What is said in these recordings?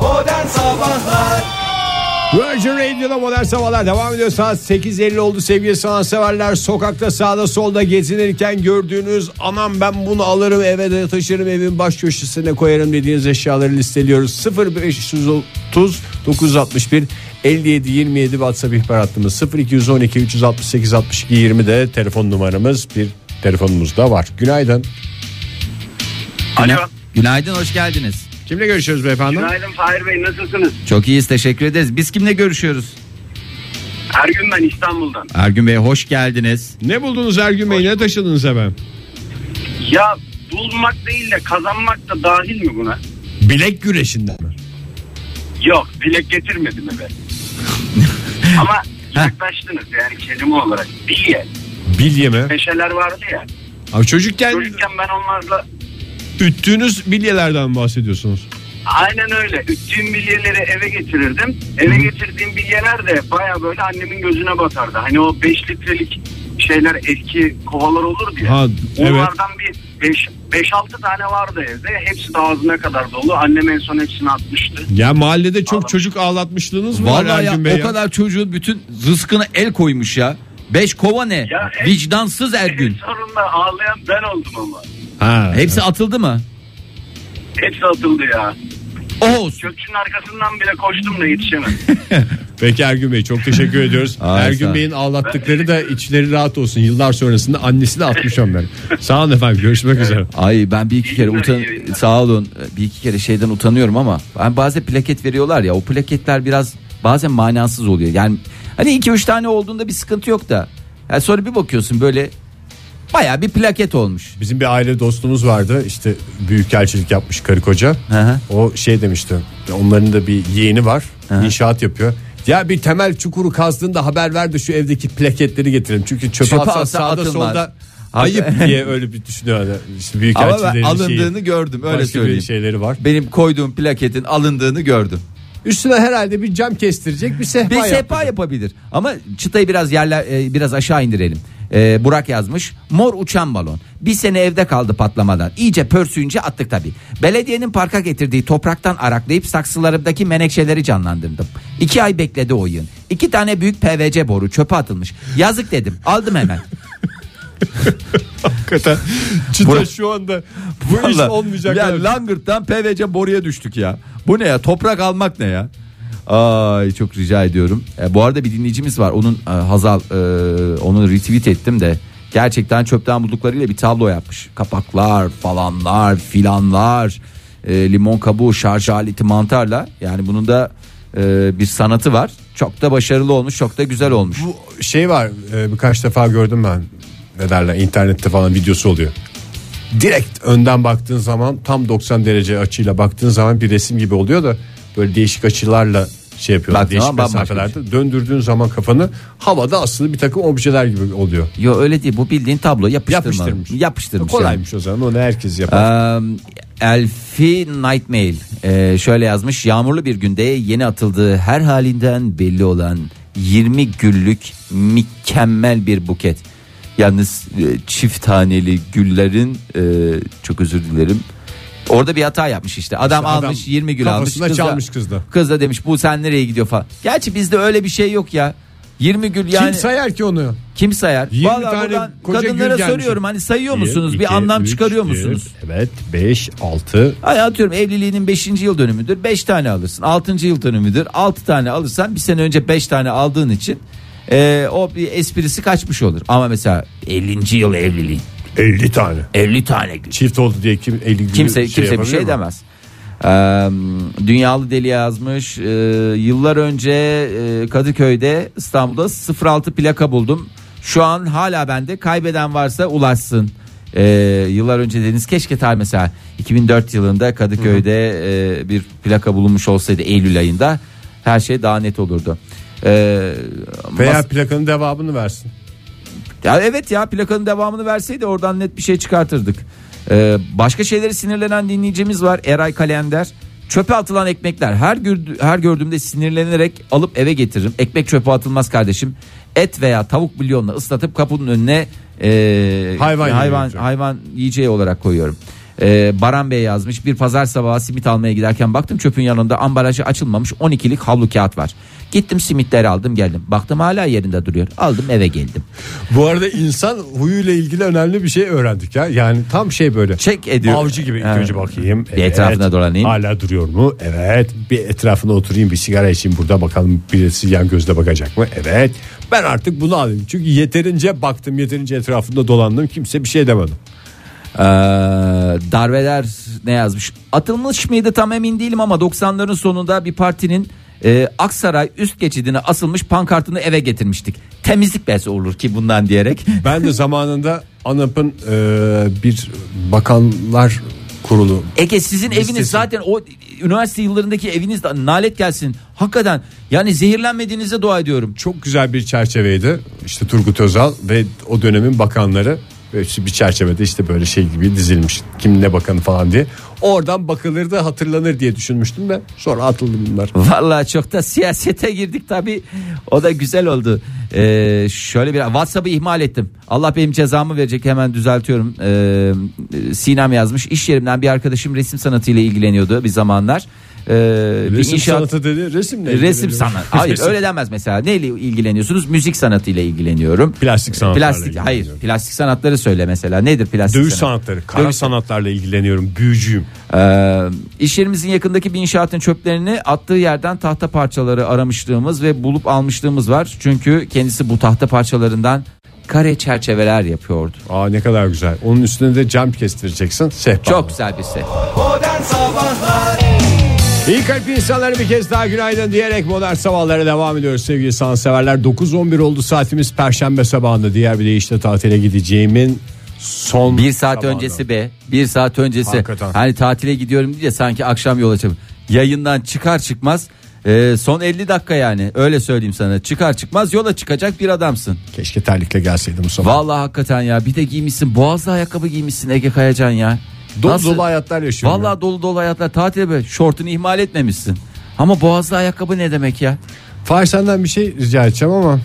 Modern Sabahlar Virgin Radio'da modern sabahlar devam ediyor. Saat 8.50 oldu sevgili sanatseverler. Sokakta sağda solda gezinirken gördüğünüz anam ben bunu alırım eve de taşırım evin baş köşesine koyarım dediğiniz eşyaları listeliyoruz. 0530 961 57 27 WhatsApp ihbar hattımız 0212 368 62 20 de telefon numaramız bir telefonumuz da var. Günaydın. Alo. Günaydın hoş geldiniz. Kimle görüşüyoruz beyefendi? Günaydın Fahir Bey nasılsınız? Çok iyiyiz teşekkür ederiz. Biz kimle görüşüyoruz? Her gün ben İstanbul'dan. Ergün Bey hoş geldiniz. Ne buldunuz Ergün Bey? Ne taşıdınız efendim? Ya bulmak değil de kazanmak da dahil mi buna? Bilek güreşinden mi? Yok dilek getirmedim eve. Ama yaklaştınız yani kelime olarak. Bilye. Bilye mi? Peşeler vardı ya. Abi çocukken Çocukken ben onlarla Üttüğünüz bilyelerden mi bahsediyorsunuz? aynen öyle. Üttüğüm bilyeleri eve getirirdim. Eve getirdiğim bilyeler de baya böyle annemin gözüne batardı. Hani o 5 litrelik şeyler eski kovalar olurdu ya. Ha, evet. Onlardan bir 5-6 tane vardı evde. Hepsi de ağzına kadar dolu. Annem en son hepsini atmıştı. Ya mahallede çok Anladım. çocuk ağlatmışlığınız mı var Vallahi ya, Ergün Bey? o kadar çocuğun bütün rızkına el koymuş ya. Beş kova ne? Ya, evet. Vicdansız Ergün. En sonunda ağlayan ben oldum ama. Ha. Hepsi atıldı mı? Hepsi atıldı ya. Oh olsun. Kökçünün arkasından bile koştum da yetişemedim. Peki Ergün Bey çok teşekkür ediyoruz. Ay, sağ Ergün ol. Bey'in ağlattıkları da içleri rahat olsun. Yıllar sonrasında annesi de atmış onları. Sağ olun efendim görüşmek üzere. Ay ben bir iki kere günler, utan iyi yayınlar. sağ olun bir iki kere şeyden utanıyorum ama ben bazen plaket veriyorlar ya o plaketler biraz bazen manasız oluyor. Yani hani iki üç tane olduğunda bir sıkıntı yok da yani sonra bir bakıyorsun böyle baya bir plaket olmuş. Bizim bir aile dostumuz vardı işte büyükelçilik yapmış karı koca. Hı hı. O şey demişti onların da bir yeğeni var inşaat yapıyor. Ya bir temel çukuru kazdığında haber ver de şu evdeki plaketleri getirelim. Çünkü çöpe, Çöpe atsan atsa sağda atılmaz. solda Abi- ayıp diye öyle bir düşünüyor. adam. İşte Ama büyükelçilerin ben şeyi. alındığını gördüm öyle Başka bir şey. söyleyeyim. şeyleri var. Benim koyduğum plaketin alındığını gördüm. Üstüne herhalde bir cam kestirecek bir sehpa Bir yaptı. sepa yapabilir. Ama çıtayı biraz yerler e, biraz aşağı indirelim. E, Burak yazmış. Mor uçan balon. Bir sene evde kaldı patlamadan. İyice pörsüyünce attık tabii. Belediyenin parka getirdiği topraktan araklayıp saksılarımdaki menekşeleri canlandırdım. İki ay bekledi o yığın. İki tane büyük PVC boru çöpe atılmış. Yazık dedim. Aldım hemen. Hakikaten çıta Burak- şu anda bu iş Vallahi, olmayacak. Ya kadar- Langırt'tan PVC boruya düştük ya. Bu ne ya? Toprak almak ne ya? Ay çok rica ediyorum. E, bu arada bir dinleyicimiz var. Onun e, Hazal e, onu retweet ettim de gerçekten çöpten bulduklarıyla bir tablo yapmış. Kapaklar falanlar filanlar e, limon kabuğu şarj aleti mantarla yani bunun da e, bir sanatı var. Çok da başarılı olmuş, çok da güzel olmuş. Bu şey var e, birkaç defa gördüm ben. Ne derler internette falan videosu oluyor. Direkt önden baktığın zaman tam 90 derece açıyla baktığın zaman bir resim gibi oluyor da böyle değişik açılarla şey yapıyorlar. Bak, değişik tamam, bambaşka şey. mesafelerde. Döndürdüğün zaman kafanı havada asılı bir takım objeler gibi oluyor. Yo öyle değil. Bu bildiğin tablo yapıştırma. Yapıştırmış. Yapıştırmış. yani. Kolaymış o zaman onu herkes yapar. Eee, Elfi Nightmail eee, şöyle yazmış. Yağmurlu bir günde yeni atıldığı her halinden belli olan 20 güllük mükemmel bir buket. Yalnız eee, çift taneli güllerin eee, çok özür dilerim. Orada bir hata yapmış işte. Adam İşte adam almış 20 gül almış. kafasına çalmış kızda. Kız da demiş bu sen nereye gidiyor falan. Gerçi bizde öyle bir şey yok ya. 20 gül yani Kim sayar ki onu? kim sayar? 20 Vallahi tane buradan koca gül kadınlara gelmiş. soruyorum hani sayıyor Bir, musunuz? iki, bir anlam üç, çıkarıyor dört, musunuz? Evet 5 6 Ay atıyorum evliliğinin 5. yıl dönümüdür. 5 tane alırsın. 6. yıl dönümüdür. 6 tane alırsan bir sene önce 5 tane aldığın için e, o bir esprisi kaçmış olur. Ama mesela 50. yıl evliliğin 50 tane. 50 tane gül. Çift oldu diye kim 50 gülü Kimse kimse bir yapabilir şey mi? demez. Ee, Dünyalı Deli yazmış. Ee, yıllar önce e, Kadıköy'de İstanbul'da 06 plaka buldum. Şu an hala bende. Kaybeden varsa ulaşsın. Ee, yıllar önce dediniz keşke tar mesela 2004 yılında Kadıköy'de e, bir plaka bulunmuş olsaydı Eylül ayında her şey daha net olurdu. Ee, Veya mas- plakanın devamını versin. ya evet ya plakanın devamını verseydi oradan net bir şey çıkartırdık. Ee, başka şeyleri sinirlenen dinleyicimiz var. Eray Kalender. Çöpe atılan ekmekler. Her, gördü- her gördüğümde sinirlenerek alıp eve getiririm. Ekmek çöpe atılmaz kardeşim. Et veya tavuk bilyonla ıslatıp kapının önüne e, Hayvan yemeği hayvan olacak. hayvan yiyeceği olarak koyuyorum. Ee, Ee, Baran Bey yazmış bir pazar sabahı simit almaya giderken baktım çöpün yanında ambalajı açılmamış 12'lik havlu kağıt var. Gittim simitleri aldım geldim. Baktım hala yerinde duruyor. Aldım eve geldim. Bu arada insan huyuyla ilgili önemli bir şey öğrendik ya. Yani tam şey böyle. Çek ediyor. Avcı gibi ilk Evet. önce bakayım. Bir etrafına dolanayım. Hala duruyor mu? Evet. Bir etrafına oturayım bir sigara içeyim burada bakalım birisi yan gözle bakacak mı? Evet. Ben artık bunu alayım. Çünkü yeterince baktım yeterince etrafında dolandım kimse bir şey demedi. Ee, darbeler ne yazmış? Atılmış mıydı tam emin değilim ama 90'ların sonunda bir partinin e, Aksaray üst geçidine asılmış pankartını eve getirmiştik. Temizlik besi olur ki bundan diyerek. Ben de zamanında ANAP'ın e, bir bakanlar kurulu Ege sizin Listesi. eviniz zaten o üniversite yıllarındaki eviniz de- nalet gelsin. Hakikaten yani zehirlenmediğinize dua ediyorum. çok güzel bir çerçeveydi. İşte Turgut Özal ve o dönemin bakanları böyle işte bir çerçevede işte böyle şey gibi dizilmiş. Kim ne bakanı falan diye. Oradan bakılırdı hatırlanır diye düşünmüştüm de sonra atıldı bunlar. Vallahi çok da siyasete girdik tabi. O da güzel oldu. Ee, şöyle bir WhatsApp'ı ihmal ettim. Allah benim cezamı verecek hemen düzeltiyorum. Ee, Sinem yazmış. İş yerimden bir arkadaşım resim sanatıyla ilgileniyordu bir zamanlar. Ee, bir Resim inşaat sanatı dedi resimle. resim ilgileniyor. sanat. Hayır Resim. öyle denmez mesela. Neyle ilgileniyorsunuz? Müzik sanatıyla ilgileniyorum. Plastik sanatlarla Plastik hayır. ilgileniyorum. Plastik sanatları söyle mesela. Nedir plastik Dövüş sanat? sanatları, kara Dövüş- sanatlarla ilgileniyorum, büyücüyüm. Ee, iş yerimizin yakındaki bir inşaatın çöplerini attığı yerden tahta parçaları aramışlığımız ve bulup almışlığımız var. Çünkü kendisi bu tahta parçalarından kare çerçeveler yapıyordu. Aa ne kadar güzel. Onun üstüne de cam kestireceksin. Sehpa. Çok güzel bir şey. İyi kalp insanlara bir kez daha günaydın diyerek modern sabahlara devam ediyoruz sevgili sanatseverler. 9.11 oldu saatimiz perşembe sabahında diğer bir deyişle tatile gideceğimin son Bir saat sabahında. öncesi be. Bir saat öncesi. Hakikaten. Hani tatile gidiyorum diye sanki akşam yola çıkıp yayından çıkar çıkmaz e, son 50 dakika yani öyle söyleyeyim sana çıkar çıkmaz yola çıkacak bir adamsın. Keşke terlikle gelseydim bu sabah. Vallahi hakikaten ya bir de giymişsin boğazlı ayakkabı giymişsin Ege Kayacan ya. Dolu Nasıl- dolu hayatlar yaşıyorum. Vallahi dolu dolu hayatlar tatile be şortunu ihmal etmemişsin. Ama boğazlı ayakkabı ne demek ya? ya. Fahir senden bir şey rica edeceğim ama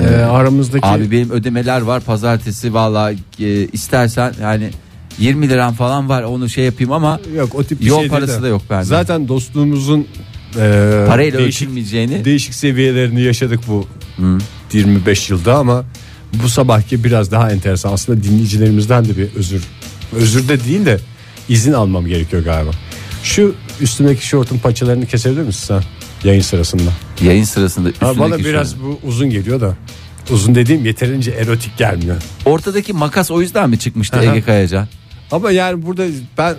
e, aramızdaki Ee, Abi benim ödemeler var pazartesi vallahi e, istersen yani 20 liram falan var onu şey yapayım ama yok o tip bir yol şey değil parası de. da yok bende. Zaten dostluğumuzun e, parayla değişik, ölçülmeyeceğini değişik seviyelerini yaşadık bu 25 yılda ama bu sabahki biraz daha enteresan. Aslında dinleyicilerimizden de bir özür. Özür de değil de izin almam gerekiyor galiba. Şu üstümdeki şortun paçalarını kesebilir misin sen yayın sırasında? yayın sırasında Ha, bana üstündeki biraz şu- bu uzun geliyor da. Uzun dediğim yeterince erotik gelmiyor. Ortadaki makas o yüzden mi çıkmıştı Aha. Ege Kayacan? Ama yani burada ben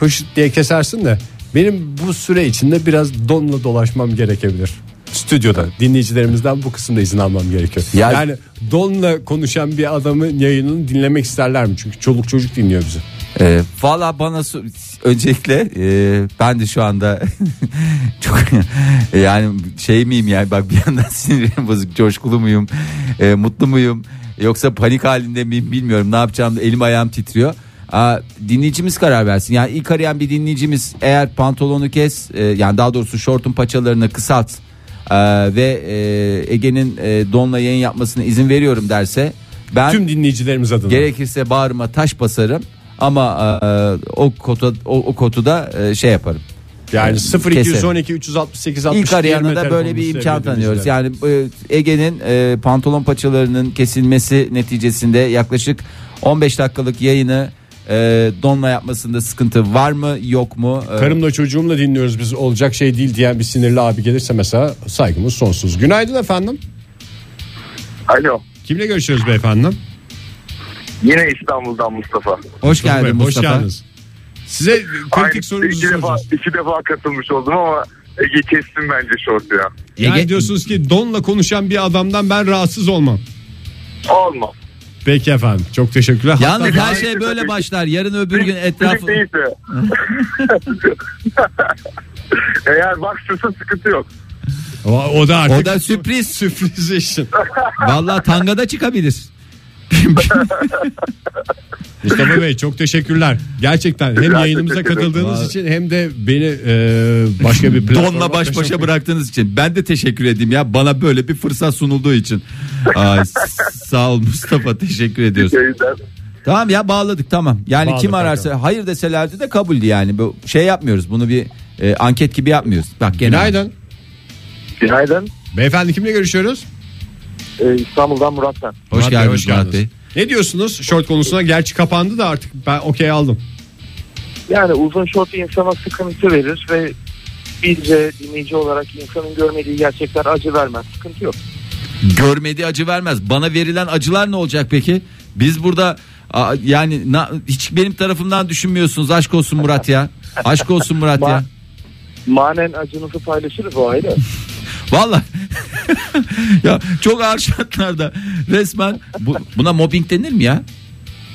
hış diye kesersin de benim bu süre içinde biraz donla dolaşmam gerekebilir. Stüdyoda dinleyicilerimizden bu kısımda izin almam gerekiyor. Ya- yani donla konuşan bir adamın yayınını dinlemek isterler mi? Çünkü çoluk çocuk dinliyor bizi. Ee, Valla bana su- öncelikle e, ben de şu anda çok yani şey miyim ya bak bir yandan sinirim bozuk coşkulu muyum e, mutlu muyum yoksa panik halinde miyim bilmiyorum ne yapacağım elim ayağım titriyor. Aa, dinleyicimiz karar versin yani ilk arayan bir dinleyicimiz eğer pantolonu kes e, yani daha doğrusu şortun paçalarını kısalt e, ve e, Ege'nin e, donla yayın yapmasına izin veriyorum derse ben Tüm dinleyicilerimiz adına. Gerekirse bağrıma taş basarım ama e, e, o kotu o, o kotuda e, şey yaparım. yani Keserim. 0212 368 60 İlk arayana yirmi da böyle bir telefonumuz imkan sevgili tanıyoruz. dinleyiciler. Yani e, Ege'nin e, pantolon paçalarının kesilmesi neticesinde yaklaşık 15 dakikalık yayını e, donla yapmasında sıkıntı var mı yok mu? E, Karımla çocuğumla dinliyoruz biz olacak şey değil diyen bir sinirli abi gelirse mesela saygımız sonsuz. Günaydın efendim. Alo. Kimle görüşüyoruz beyefendi? Yine İstanbul'dan Mustafa. hoş Mustafa geldin Bey, hoş Mustafa. geldiniz. Size kritik Aynı- sorumuzu iki defa, soracağız. iki defa katılmış oldum ama Ege kestim bence şortu ya. Yani Ege- diyorsunuz ki donla konuşan bir adamdan ben rahatsız olmam. Olmaz. Peki efendim. Çok teşekkürler. Hatta Yalnız her Hatta- şey böyle başlar. Yarın öbür gün Etrafı... etrafı değilse. Eğer baksırsa sıkıntı yok. o, o da artık o da sürpriz. sürpriz işin. Vallahi tangada çıkabilir. Mustafa Bey çok teşekkürler. Gerçekten hem Rica yayınımıza teşekkür ederim. katıldığınız için hem de beni e, başka bir platforma Donla baş taşımak- başa bıraktığınız için ben de teşekkür edeyim ya bana böyle bir fırsat sunulduğu için. Ay, s- sağ ol Mustafa teşekkür ediyoruz. Yayından. Tamam ya bağladık tamam. Yani Bağladık kim ararsa hayır deselerdi de kabuldü yani. Bu şey yapmıyoruz. Bunu bir e, anket gibi yapmıyoruz. Bak gene. Günaydın. Günaydın. Beyefendi kimle görüşüyoruz? Ee, İstanbul'dan Murat ben. Hoş Murat Bey, geldiniz Murat Bey. Ne diyorsunuz şort konusuna? Gerçi kapandı da artık ben okey aldım. Yani uzun şort insana sıkıntı verir ve bilce dinleyici olarak insanın görmediği gerçekler acı vermez. Sıkıntı yok. Görmediği acı vermez. Bana verilen acılar ne olacak peki? Biz burada a, yani na- hiç benim tarafımdan düşünmüyorsunuz. Aşk olsun Murat ya. Aşk olsun Murat ya. Ma- Manen acınızı paylaşırız o ayrı. Vallahi ya çok ağır şartlarda resmen bu, buna mobbing denir mi ya?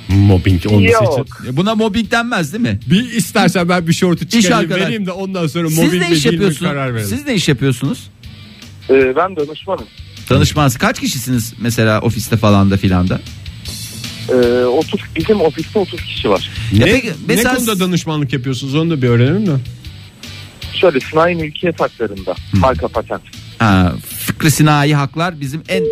Mobbing olması için. Buna mobbing denmez değil mi? Bir istersen ben bir şortu çıkarayım arkadaş. vereyim de ondan sonra Siz mobbing ne mi iş değil mi karar yapıyorsunuz? verelim. Siz ne iş yapıyorsunuz? Ee, ben danışmanım. Danışmanız kaç kişisiniz mesela ofiste falan da filan da? Ee, 30, bizim ofiste 30 kişi var. Ya Ne, peki, mesela- ne konuda danışmanlık yapıyorsunuz onu da bir öğrenelim de. Şöyle sınai mülkiyet haklarında. Marka patent. Ha, fıkri sinayi haklar bizim en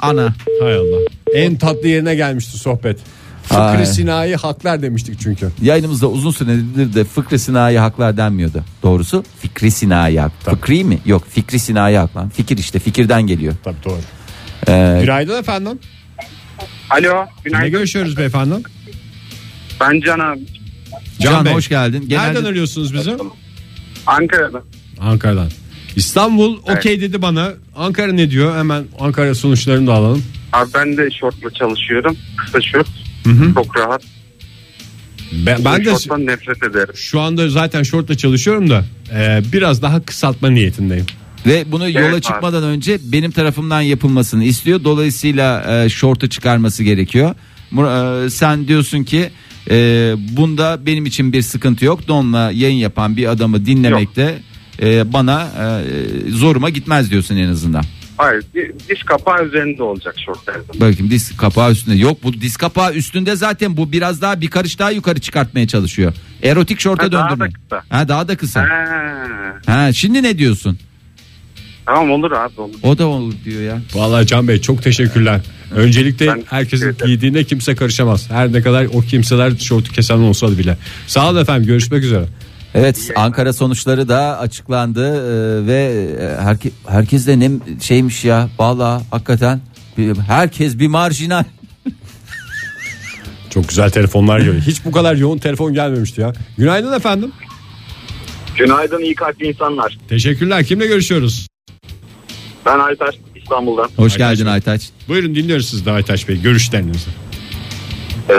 ana. Hay Allah. En tatlı yerine gelmişti sohbet. Fıkri Ay. sinayi haklar demiştik çünkü. Yayınımızda uzun süredir de fıkri sinayi haklar denmiyordu. Doğrusu fikri sinayi hak. Fıkri mi? Yok fikri sinayi hak lan. Fikir işte fikirden geliyor. Tabii doğru. Ee, Günaydın efendim. Alo Ne günaydın. görüşüyoruz beyefendi? Ben Can abi. Can, Can Bey. hoş geldin. Nereden arıyorsunuz bizi? Ankara'da. Ankara'dan. İstanbul okey dedi bana. Ankara ne diyor? Hemen Ankara sonuçlarını da alalım. Abi ben de şortla çalışıyorum. Kısa şort. Çok rahat. Ben, ben de Şorttan nefret ederim. şu anda zaten şortla çalışıyorum da e, biraz daha kısaltma niyetindeyim. Ve bunu yola Evet abi. çıkmadan önce benim tarafımdan yapılmasını istiyor. Dolayısıyla e, şortu çıkarması gerekiyor. Mur- e, sen diyorsun ki e, bunda benim için bir sıkıntı yok. Donla yayın yapan bir adamı dinlemekte e, bana e, zoruma gitmez diyorsun en azından. Hayır di- diş kapağı üzerinde olacak şort. her zaman. Bakayım disk kapağı üstünde. Yok bu disk kapağı üstünde zaten bu biraz daha bir karış daha yukarı çıkartmaya çalışıyor. Erotik şorta Ha, daha da döndürme. kısa. Ha, daha da kısa. Ha, Ha, şimdi ne diyorsun? tamam olur abi olur. O da olur diyor ya. Vallahi Can Bey çok teşekkürler. Öncelikle Ben teşekkür herkesin ederim. giydiğine kimse karışamaz. Her ne kadar o kimseler şortu kesen olsa bile. Sağ olun efendim görüşmek üzere. Evet Ankara sonuçları da açıklandı ee, ve herke, herkes de ne şeymiş ya valla hakikaten bir- herkes bir marjinal. Çok güzel telefonlar geliyor. Hiç bu kadar yoğun telefon gelmemişti ya. Günaydın efendim. Günaydın iyi kalpli insanlar. Teşekkürler. Kimle görüşüyoruz? Ben Alper İstanbul'dan. Hoş Aytaç geldin Bey. Aytaç. Buyurun dinliyoruz siz de Aytaç Bey görüşlerinizi. Ee,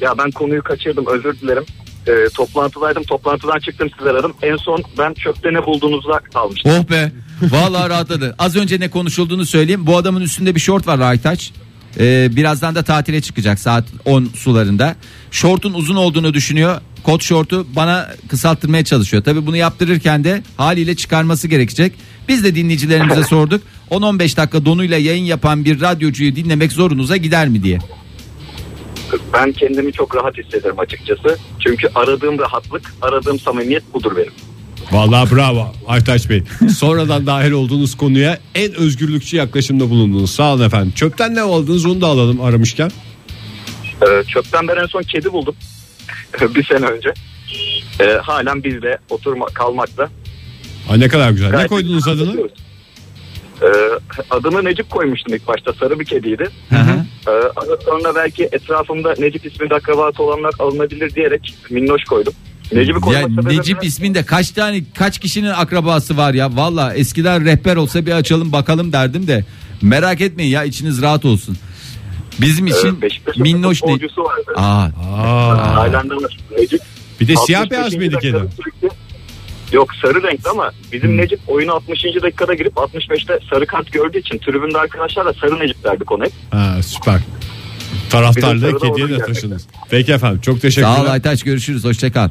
ya ben konuyu kaçırdım özür dilerim. Ee, toplantıdaydım toplantıdan çıktım sizi aradım. En son ben çöpte ne bulduğunuzda kalmıştım. Oh be valla rahatladı. Az önce ne konuşulduğunu söyleyeyim. Bu adamın üstünde bir şort var Aytaç. Ee, birazdan da tatile çıkacak saat 10 sularında. Şortun uzun olduğunu düşünüyor. Kot şortu bana kısalttırmaya çalışıyor. Tabi bunu yaptırırken de haliyle çıkarması gerekecek. Biz de dinleyicilerimize sorduk. 10-15 dakika donuyla yayın yapan bir radyocuyu dinlemek zorunuza gider mi diye. Ben kendimi çok rahat hissederim açıkçası. Çünkü aradığım rahatlık aradığım samimiyet budur benim. Vallahi bravo Aytaç Bey. Sonradan dahil olduğunuz konuya en özgürlükçü yaklaşımda bulundunuz. Sağ olun efendim. Çöpten ne aldınız onu da alalım aramışken. Ee, çöpten ben en son kedi buldum. bir sene önce. Ee, halen bizde oturma kalmakta. Aa, ne kadar güzel. Ne Gayet koydunuz güzel adını? gidiyoruz. Ee, adını Necip koymuştum ilk başta. Sarı bir kediydi. Ee, sonra belki etrafımda Necip isminde akrabası olanlar alınabilir diyerek minnoş koydum. Necip'i koyma Ya sebebi- Necip isminde kaç tane kaç kişinin akrabası var ya valla eskiden rehber olsa bir açalım bakalım derdim de merak etmeyin ya içiniz rahat olsun. Bizim için Ee, Beşiktaş'ın minnoş ne? futbolcusu vardı. Aa, Aa, Ailende var. Necip. bir de E, siyah 65. beyaz mıydı kedi? dakikada sürekli- Yok sarı renkli ama bizim Hmm. Necip oyunu 60. dakikada girip 65'te sarı kart gördüğü için tribünde arkadaşlarla sarı Necip derdik ona. hep. Ha, süper. Bir Taraftarlığı de sarı kediye de olacak. taşınız. Peki efendim çok sağ ol teşekkürler. Aytaç görüşürüz hoşçakal.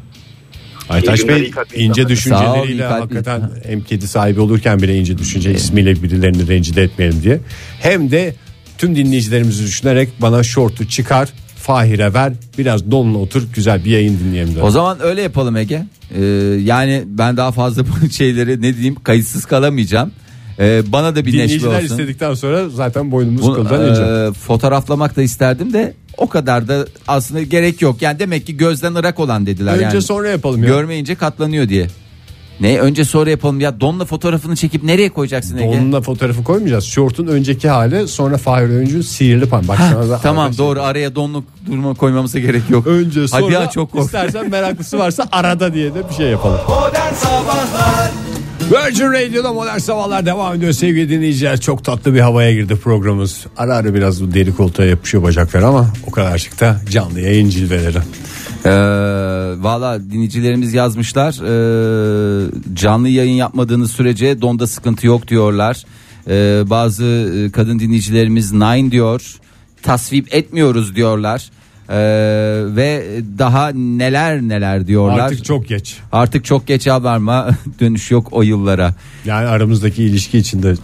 Aytaç İyi günler, Bey iyi kalpli ince insanlar. Sağ ol, iyi düşünceleriyle kalpli hakikaten insan. hem kedi sahibi olurken bile ince düşünce ismiyle birilerini rencide etmeyelim diye. Hem de tüm dinleyicilerimizi düşünerek bana şortu çıkar Fahir'e ver biraz donla otur güzel bir yayın dinleyelim. O dedim. zaman öyle yapalım Ege. Ee, yani ben daha fazla bu şeyleri ne diyeyim kayıtsız kalamayacağım. Ee, bana da bir neşve Dinleyiciler olsun. e, istedikten sonra zaten boynumuz Bunu, kıldan ince. e, fotoğraflamak da isterdim de O kadar da aslında gerek yok. Yani demek ki gözden ırak olan dediler. Önce yani. sonra yapalım ya. Görmeyince katlanıyor diye. Ne önce sonra yapalım ya donla fotoğrafını çekip nereye koyacaksın Ege? Onunla fotoğrafı koymayacağız. Şortun önceki hali sonra Fahir Öğüncü'nün sihirli pan. Bak sana da- Tamam Arkadaşlar. doğru araya donluk durma koymamıza gerek yok. Önce sonra Hadi ya çok korktum. istersen meraklısı varsa arada diye de bir şey yapalım. Virgin Radio'da modern sabahlar devam ediyor sevgili dinleyiciler. Çok tatlı bir havaya girdi programımız. Ara ara biraz bu deri koltuğa yapışıyor bacaklar ama o kadarcık da canlı yayın cilveleri. Ee, Valla dinleyicilerimiz yazmışlar ee, canlı yayın yapmadığınız sürece donda sıkıntı yok diyorlar. Ee, bazı e, kadın dinleyicilerimiz nine diyor tasvip etmiyoruz diyorlar. Ee, ve daha neler neler diyorlar. Artık çok geç. Artık çok geç haberma dönüş yok o yıllara. Yani aramızdaki ilişki içinde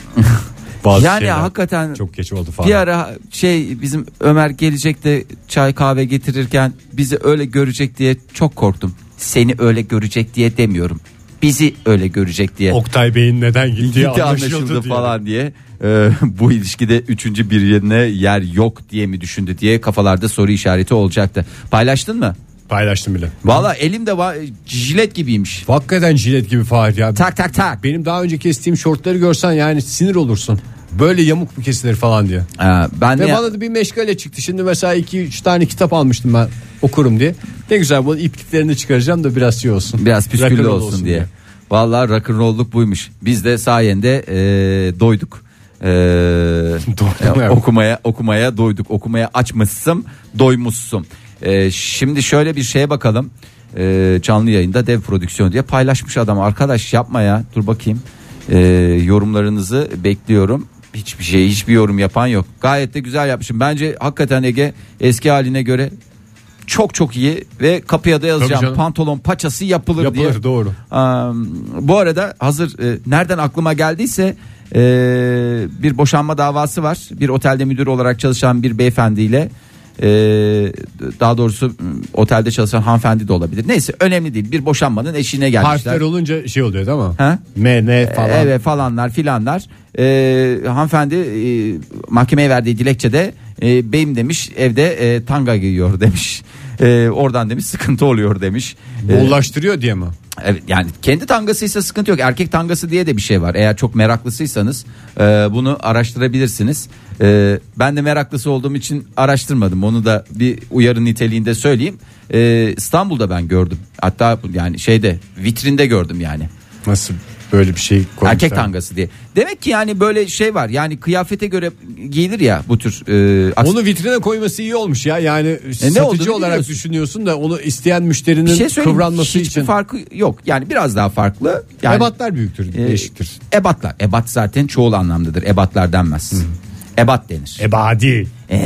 bazı yani şeyler hakikaten çok geç oldu falan. bir ara şey bizim Ömer gelecek de çay kahve getirirken bizi öyle görecek diye çok korktum. Seni öyle görecek diye demiyorum. Bizi öyle görecek diye. Oktay Bey'in neden gittiği Gitti anlaşıldı, anlaşıldı diye. falan diye. Ee, bu ilişkide üçüncü bir yerine yer yok diye mi düşündü diye kafalarda soru işareti olacaktı. Paylaştın mı? Paylaştım bile. Valla elimde va- jilet gibiymiş. Hakikaten jilet gibi Fahir ya. Tak tak tak. Benim daha önce kestiğim şortları görsen yani sinir olursun. Böyle yamuk mu kesilir falan diye. Ee, ben Ve de- bana da bir meşgale çıktı. Şimdi mesela 2-3 tane kitap almıştım ben okurum diye. Ne güzel bunu ipliklerini çıkaracağım da biraz şey olsun. Biraz püsküllü Rock'n'roll olsun, diye. Vallahi rock'n'roll'luk buymuş. Biz de sayende e, doyduk. E, Doydum e, ya. okumaya okumaya doyduk. Okumaya açmışsın, doymuşsun. E, şimdi şöyle bir şeye bakalım. E, canlı yayında dev prodüksiyon diye paylaşmış adam. Arkadaş yapma ya. Dur bakayım. E, yorumlarınızı bekliyorum. Hiçbir şey, hiçbir yorum yapan yok. Gayet de güzel yapmışım. Bence hakikaten Ege eski haline göre çok çok iyi ve kapıya da yazacağım. canım. Pantolon paçası yapılır, diye. Yapılır doğru. Am, bu arada hazır e, nereden aklıma geldiyse e, bir boşanma davası var. Bir otelde müdür olarak çalışan bir beyefendiyle e, daha doğrusu m, otelde çalışan hanımefendi de olabilir. Neyse önemli değil. Bir boşanmanın eşiğine gelmişler. Harfler olunca şey oluyor değil mi? Ha? E, M, N falan. Evet falanlar filanlar. Ee, hanımefendi e, mahkemeye verdiği dilekçede e, beyim demiş evde e, tanga giyiyor demiş. E, oradan demiş sıkıntı oluyor demiş. E, Bollaştırıyor diye mi? Evet, yani kendi tangasıysa sıkıntı yok. Erkek tangası diye de bir şey var. Eğer çok meraklısıysanız e, bunu araştırabilirsiniz. E, ben de meraklısı olduğum için araştırmadım. Onu da bir uyarı niteliğinde söyleyeyim. E, İstanbul'da ben gördüm. Hatta yani şeyde vitrinde gördüm yani. Nasıl böyle bir şey koymuşlar? Erkek tangası diye. Demek ki yani böyle şey var. Yani kıyafete göre giyilir ya bu tür e, aks- Onu vitrine koyması iyi olmuş ya. Yani E, satıcı olduğunu olarak biliyorsun. düşünüyorsun da onu isteyen bir müşterinin şey söyleyeyim. kıvranması Hiçbir için. farkı yok. Yani biraz daha farklı. Yani Ebatlar büyüktür, e, değişiktir. Ebatlar. Ebat zaten çoğul anlamdadır. Ebatlar denmez. Ebat denir. Ebadi. Ee,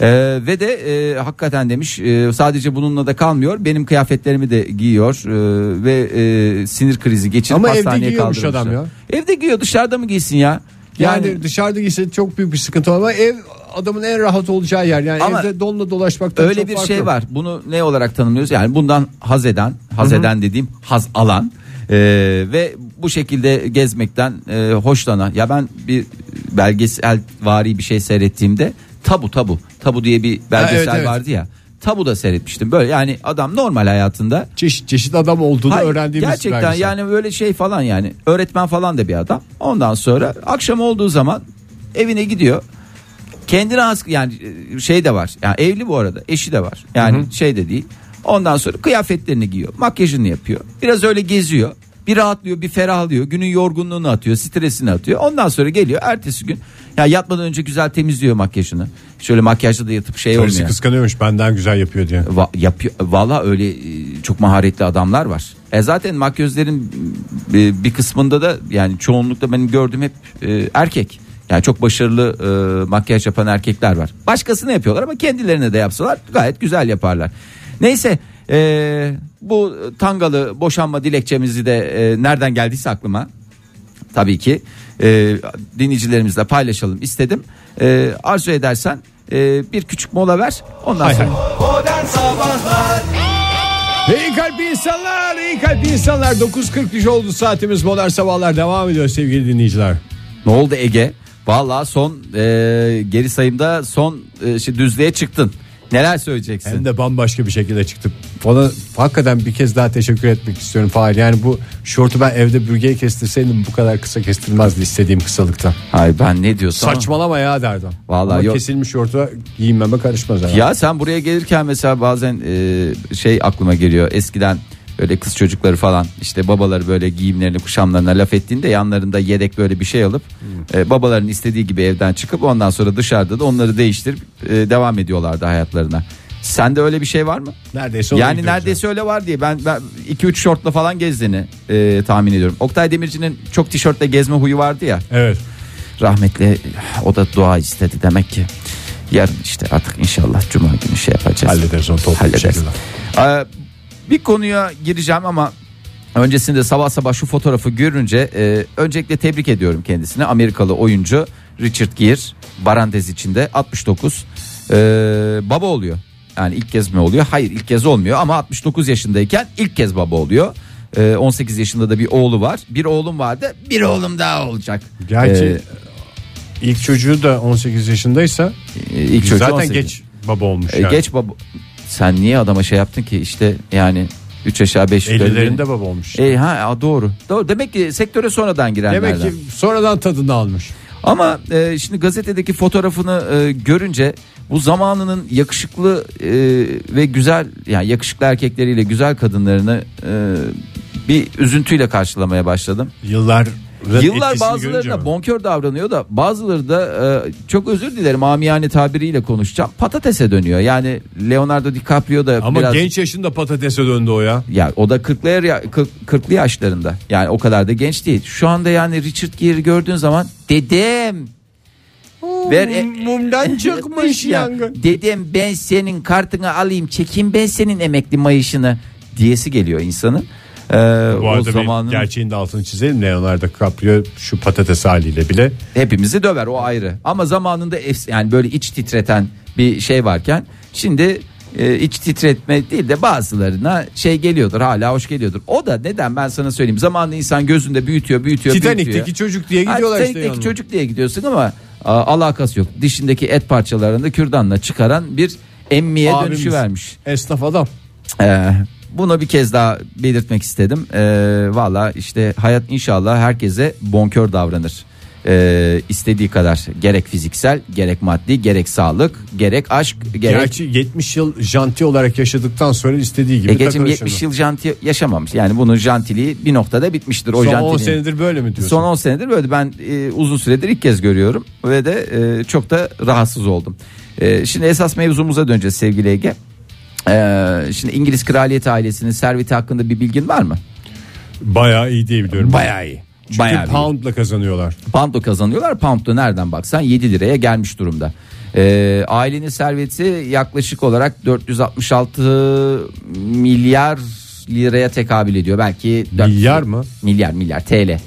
e, ve de e, hakikaten demiş e, sadece bununla da kalmıyor. Benim kıyafetlerimi de giyiyor e, ve e, sinir krizi geçirip Ama evde hastaneye giyiyormuş adam kaldırmışlar. ya. Evde giyiyor dışarıda mı giysin ya? Yani, dışarıda gitse çok büyük bir sıkıntı var ama ev adamın en rahat olacağı yer. Yani Ama evde donla dolaşmaktan öyle çok bir fark şey yok. var. Bunu ne olarak tanımlıyoruz? Yani bundan haz eden, haz eden dediğim haz alan e, ve bu şekilde gezmekten e, hoşlanan. Ya ben bir belgesel vari bir şey seyrettiğimde tabu tabu tabu diye bir belgesel evet, evet. vardı ya. Tabu da seyretmiştim. Böyle yani adam normal hayatında Çeşit çeşit adam olduğunu Hayır, öğrendiğimiz gerçekten belgesel. yani böyle şey falan yani öğretmen falan da bir adam. Ondan sonra akşam olduğu zaman evine gidiyor. Kendine has yani e, şey de var. Yani evli bu arada, eşi de var. Yani şey de değil. Ondan sonra kıyafetlerini giyiyor, makyajını yapıyor. Biraz öyle geziyor. Bir rahatlıyor, bir ferahlıyor. Günün yorgunluğunu atıyor, stresini atıyor. Ondan sonra geliyor ertesi gün. Ya yatmadan önce güzel temizliyor makyajını. Şöyle makyajlı da yatıp şey Karısı olmuyor. kıskanıyormuş benden güzel yapıyor diye. Va- yapıyor. Valla öyle e, çok maharetli adamlar var. E zaten makyözlerin e, bir kısmında da yani çoğunlukla benim gördüğüm hep e, erkek. Yani çok başarılı e, makyaj yapan erkekler var. Başkasına yapıyorlar ama kendilerine de yapsalar gayet güzel yaparlar. Neyse e, bu tangalı boşanma dilekçemizi de e, nereden geldiyse aklıma tabii ki e, dinleyicilerimizle paylaşalım istedim. E, arzu edersen e, bir küçük mola ver ondan Hay sonra. hay. İyi kalp insanlar, iyi kalp insanlar. 9.43 oldu saatimiz modern sabahlar devam ediyor sevgili dinleyiciler. Ne oldu Ege? Vallahi son e, geri sayımda son e, şey, düzlüğe çıktın. Neler söyleyeceksin? Hem de bambaşka bir şekilde çıktım. Ona hakikaten bir kez daha teşekkür etmek istiyorum Fahir. Yani bu şortu ben evde bürgeye kestirseydim bu kadar kısa kestirmezdi istediğim kısalıkta. Hayır ben ne diyorsam. Saçmalama ya derdim. Vallahi Ama yok. kesilmiş şorta giyinmeme karışmaz herhalde. Ya sen buraya gelirken mesela bazen e, şey aklıma geliyor. Eskiden böyle kız çocukları falan işte babaları böyle giyimlerini kuşamlarına laf ettiğinde yanlarında yedek böyle bir şey alıp e, babaların istediği gibi evden çıkıp ondan sonra dışarıda da onları değiştirip e, devam ediyorlardı hayatlarına. Sende öyle bir şey var mı? Neredeyse onu yani gidiyoruz neredeyse öyle var diye ben 2-3 şortla falan gezdiğini e, tahmin ediyorum. Oktay Demirci'nin çok tişörtle gezme huyu vardı ya ya. Evet. rahmetli o da dua istedi demek ki. Yarın işte artık inşallah cuma günü şey yapacağız. Hallederiz onu toplu bir Hallederiz. şekilde. Ee, bir konuya gireceğim ama öncesinde sabah sabah şu fotoğrafı görünce e, öncelikle tebrik ediyorum kendisini. Amerikalı oyuncu Richard Gere Barandez içinde 69 e, baba oluyor. Yani ilk kez mi oluyor? Hayır ilk kez olmuyor ama 69 yaşındayken ilk kez baba oluyor. E, 18 yaşında da bir oğlu var. Bir oğlum vardı. Bir oğlum daha olacak. Gerçi Ee, ilk çocuğu da 18 yaşındaysa e, ilk çocuğu zaten 18. geç baba olmuş E, yani. Geç baba. Sen niye adama şey yaptın ki işte yani 3 aşağı 5 yukarı. 50'lerinde baba olmuş. E, ha a, doğru. Doğru. Demek ki sektöre sonradan girenlerden. Demek ki sonradan tadını almış. Ama e, şimdi gazetedeki fotoğrafını e, görünce bu zamanının yakışıklı e, ve güzel yani yakışıklı erkekleriyle güzel kadınlarını e, bir üzüntüyle karşılamaya başladım. Yıllar Yıllar bazılarına bonkör davranıyor da bazıları da e, çok özür dilerim amiyane tabiriyle konuşacağım. Patatese dönüyor. Yani Leonardo DiCaprio da Ama biraz genç yaşında patatese döndü o ya. ya o da 40'lı ya- kırk- 40'lı yaşlarında. Yani o kadar da genç değil. Şu anda yani Richard Gere'i gördüğün zaman dedem Ver, e- mumdan çıkmış Ya, yangın. Dedem ben senin kartını alayım çekeyim ben senin emekli mayışını diyesi geliyor insanın. Ee, Bu o arada zamanın bir gerçeğin de altını çizelim. Leonardo DiCaprio şu patates haliyle bile hepimizi döver o ayrı. Ama zamanında efs- yani böyle iç titreten bir şey varken şimdi e, iç titretme değil de bazılarına şey geliyordur hala hoş geliyordur. O da neden ben sana söyleyeyim zamanında insan gözünde büyütüyor büyütüyor büyütüyor. Titanik'teki çocuk diye gidiyorlar Ha, işte. Titanik'teki yanına. çocuk diye gidiyorsun ama a, alakası yok. Dişindeki et parçalarını kürdanla çıkaran bir emmiye Abimiz. dönüşü vermiş. Esnaf adam. Ee, bunu bir kez daha belirtmek istedim. Ee, Valla işte hayat inşallah herkese bonkör davranır. Ee, istediği kadar gerek fiziksel gerek maddi gerek sağlık gerek aşk gerek Gerçi 70 yıl janti olarak yaşadıktan sonra istediği gibi Ege'cim takılır 70 şimdi. E, yıl janti yaşamamış yani bunun jantiliği bir noktada bitmiştir o Son 10 jantiliğin. senedir böyle mi diyorsun? Son 10 senedir böyle ben e, uzun süredir ilk kez görüyorum ve de e, çok da rahatsız oldum. E, şimdi esas mevzumuza döneceğiz sevgili Ege. E, şimdi İngiliz kraliyet ailesinin serveti hakkında bir bilgin var mı? Bayağı iyi diye biliyorum. Bayağı iyi. Çünkü Bayağı iyi. poundla kazanıyorlar. Pound'u kazanıyorlar. Pound'u nereden baksan 7 liraya gelmiş durumda. E, ailenin serveti yaklaşık olarak 466 milyar liraya tekabül ediyor. Belki dört- Milyar mı? Milyar milyar TL.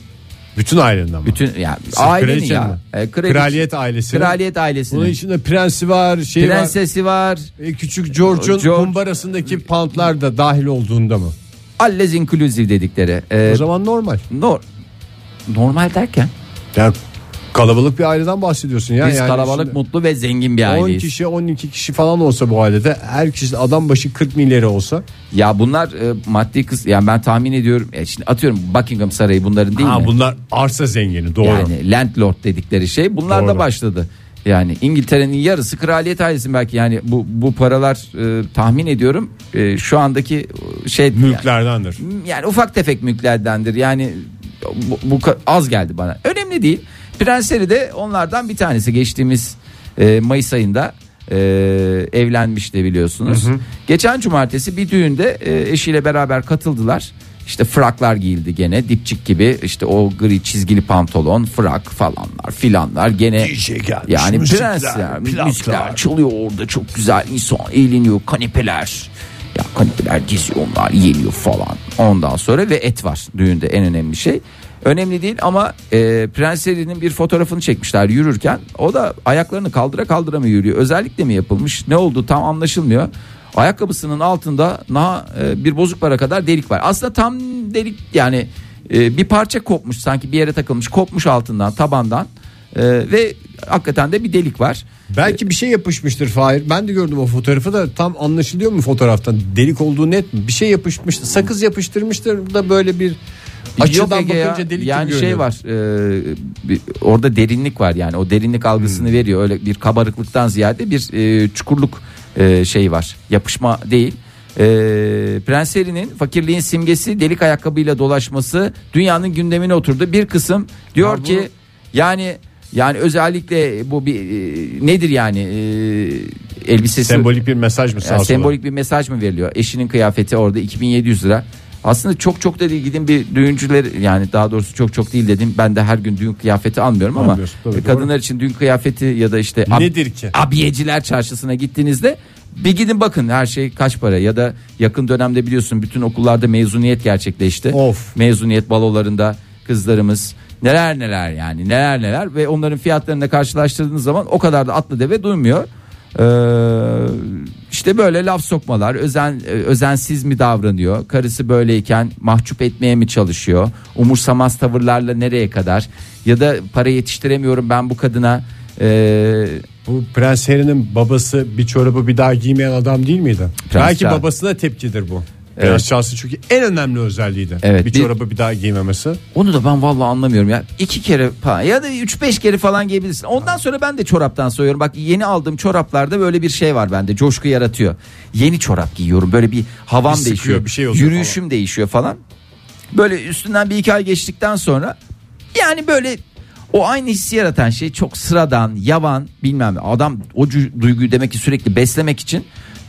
Bütün ailenin ama. Bütün yani Sırf ailenin kraliçe ya. mi? E, Kraliyet ailesi. Kraliyet ailesinin. Bunun içinde prensi var, şey var. Prensesi var. E, Küçük George'un George- kumbarasındaki pantlar da dahil olduğunda mı? Alles inclusive dedikleri. Ee, O zaman normal. nor- normal derken Yani kalabalık bir aileden bahsediyorsun ya. biz yani kalabalık şimdi mutlu ve zengin bir 10 aileyiz. kişi 12 kişi falan olsa bu ailede her kişi adam başı 40 milyarı olsa Ya bunlar e, maddi kız yani ben tahmin ediyorum. E, şimdi atıyorum Buckingham Sarayı bunların değil mi? bunlar arsa zengini doğru. Yani landlord dedikleri şey bunlar da Doğru. başladı. Yani İngiltere'nin yarısı kraliyet ailesi belki yani bu bu paralar e, tahmin ediyorum e, şu andaki e, şey Mülklerdendir. yani ufak tefek mülklerdendir. Yani bu, bu ka- az geldi bana. Önemli değil. Prenseri de onlardan bir tanesi geçtiğimiz e, Mayıs ayında e, evlenmişti biliyorsunuz. Geçen cumartesi bir düğünde e, eşiyle beraber katıldılar. İşte fraklar giyildi gene dipçik gibi işte o gri çizgili pantolon frak falanlar filanlar gene yani prens ya, müzikler çalıyor orada çok güzel insan eğleniyor kanepeler ya kanepeler geziyor onlar yeniyor falan ondan sonra ve et var düğünde en önemli şey önemli değil ama e, Prens Harry'nin bir fotoğrafını çekmişler yürürken o da ayaklarını kaldıra kaldıra mı yürüyor özellikle mi yapılmış ne oldu tam anlaşılmıyor ayakkabısının altında na e, bir bozuk para kadar delik var aslında tam delik yani e, bir parça kopmuş sanki bir yere takılmış kopmuş altından tabandan E, ve hakikaten de bir delik var. Belki bir şey yapışmıştır Fahir. Ben de gördüm o fotoğrafı da tam anlaşılıyor mu fotoğraftan? Delik olduğu net mi? Bir şey yapışmıştı. Sakız yapıştırmıştır da böyle bir açıdan Yok Ege ya. bakınca delik yani gibi şey görünüyor. var e, bir- orada derinlik var yani o derinlik algısını Hmm. veriyor öyle bir kabarıklıktan ziyade bir e, çukurluk e, şey var yapışma değil e, Prens Harry'nin fakirliğin simgesi delik ayakkabıyla dolaşması dünyanın gündemine oturdu bir kısım diyor Ya bu- ki yani yani özellikle bu bir e, nedir yani e, elbisesi Sembolik bir mesaj mı sağ yani sola? sembolik bir mesaj mı veriliyor? Eşinin kıyafeti orada 2700 lira. Aslında çok çok da değil gidin bir düğüncüler yani daha doğrusu çok çok değil dedim. Ben de her gün düğün kıyafeti almıyorum ama Almıyorsun, tabii, kadınlar için düğün kıyafeti ya da işte ab- Nedir ki? abiyeciler çarşısına gittiğinizde bir gidin bakın her şey kaç para ya da yakın dönemde biliyorsun bütün okullarda mezuniyet gerçekleşti. Of. Mezuniyet balolarında kızlarımız neler neler yani neler neler ve onların fiyatlarını karşılaştırdığınız zaman o kadar da atlı deve duymuyor. Ee, işte böyle laf sokmalar özen e, özensiz mi davranıyor karısı böyleyken mahcup etmeye mi çalışıyor umursamaz tavırlarla nereye kadar ya da para yetiştiremiyorum ben bu kadına ee, Bu Prens Harry'nin babası bir çorabı bir daha giymeyen adam değil miydi? Prens Belki Charles. babasına tepkidir bu. Prens Charles'ın çünkü en önemli özelliğiydi. Evet, bir bir- çorabı bir daha giymemesi. Onu da ben vallahi anlamıyorum ya. İki kere falan ya da üç beş kere falan giyebilirsin. Ondan sonra ben de çoraptan soyuyorum. Bak yeni aldığım çoraplarda böyle bir şey var bende. Coşku yaratıyor. Yeni çorap giyiyorum. Böyle bir havam Bir sıkıyor, değişiyor. bir şey oluyor Yürüyüşüm değişiyor falan. Böyle üstünden bir iki ay geçtikten sonra yani böyle o aynı hissi yaratan şey çok sıradan, yavan bilmem ne. Adam o cu- duyguyu demek ki sürekli beslemek için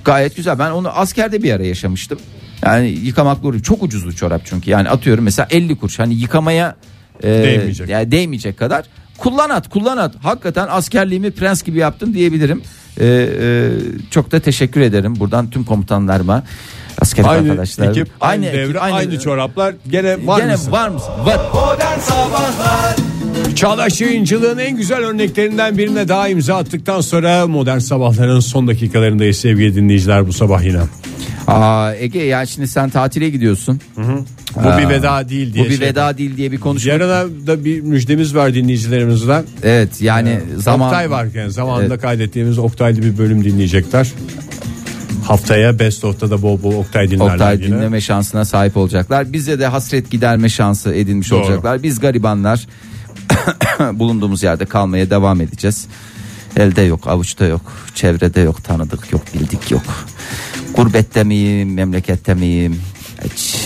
gayet güzel. Ben onu askerde bir ara yaşamıştım. Yani yıkamak doğru. Çok ucuzlu çorap çünkü. Yani atıyorum mesela 50 kuruş. Hani yıkamaya e, Değmeyecek. yani değmeyecek kadar. Kullan at, kullan at. Hakikaten askerliğimi prens gibi yaptım diyebilirim. E, e, çok da teşekkür ederim buradan tüm komutanlarıma. Asker Aynı arkadaşlar. ekip, aynı, devre, aynı, çoraplar. Gene var Gene mısın? var mısın? Var. Çağdaş yayıncılığın en güzel örneklerinden birine daha imza attıktan sonra modern sabahların son dakikalarındayız sevgili dinleyiciler bu sabah yine. Aa, Ege ya şimdi sen tatile gidiyorsun. Bu bir veda değil Bu diye. bir şey- veda değil diye bir konuşma. Yarına da bir müjdemiz var dinleyicilerimizden. Evet yani zaman Oktay var yani zamanında Evet. kaydettiğimiz Oktaylı bir bölüm dinleyecekler. Haftaya Best of'ta da bol bol Oktay dinlerler Oktay yine. dinleme şansına sahip olacaklar. Bize de hasret giderme şansı edinmiş Doğru. olacaklar. Biz garibanlar bulunduğumuz yerde kalmaya devam edeceğiz. Elde yok, avuçta yok, çevrede yok, tanıdık yok, bildik yok. Gurbette miyim, memlekette miyim? Hiç.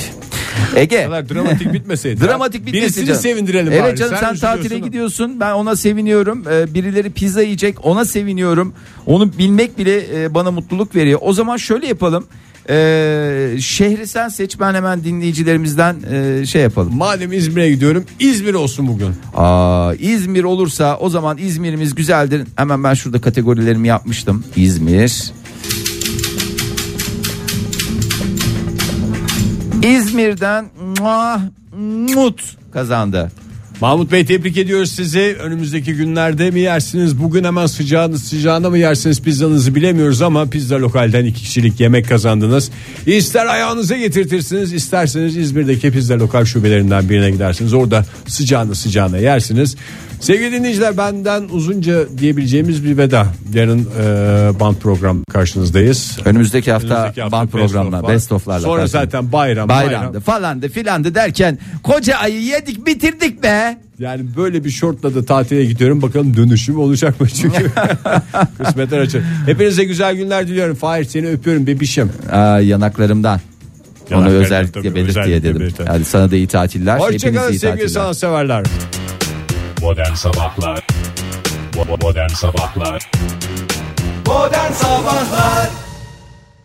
Ege. Bu kadar dramatik bitmeseydi. Dramatik bitmesin Birisini canım. sevindirelim Evet bari. canım sen, üzülüyorsun tatile ama. gidiyorsun. Ben ona seviniyorum. Ee, birileri pizza yiyecek. Ona seviniyorum. Onu bilmek bile e, bana mutluluk veriyor. O zaman şöyle yapalım. Ee, şehri sen seç. Ben hemen dinleyicilerimizden e, şey yapalım. Madem İzmir'e gidiyorum İzmir olsun bugün. Aa, İzmir olursa o zaman İzmir'imiz güzeldir. Hemen ben şurada kategorilerimi yapmıştım. İzmir. İzmir'den muah, mut kazandı. Mahmut Bey tebrik ediyoruz sizi. Önümüzdeki günlerde mi yersiniz? Bugün hemen sıcağını sıcağına mı yersiniz pizzanızı bilemiyoruz ama pizza lokalden iki kişilik yemek kazandınız. İster ayağınıza getirtirsiniz isterseniz İzmir'deki pizza lokal şubelerinden birine gidersiniz. Orada sıcağını sıcağına yersiniz. Sevgili dinleyiciler benden uzunca diyebileceğimiz bir veda. Yarın e, band program karşınızdayız. Önümüzdeki hafta, Önümüzdeki hafta band best of programla, var. best of'larla. Sonra karşınızda. zaten bayram, Bayramdı bayram. falandı filandı derken koca ayı yedik bitirdik be. Yani böyle bir şortla da tatile gidiyorum. Bakalım dönüşüm olacak mı? Çünkü kısmetler açık. Hepinize güzel günler diliyorum. Fahir seni öpüyorum bebişim. Aa, yanaklarımdan. Onu Yanaklarından özellikle tabii, belirt diye özellikle dedim. belirtelim. Hadi sana da iyi tatiller. Hoşçakalın Hepinize iyi sevgili tatiller. sanatseverler. Modern Sabahlar Bo- Modern Sabahlar Modern Sabahlar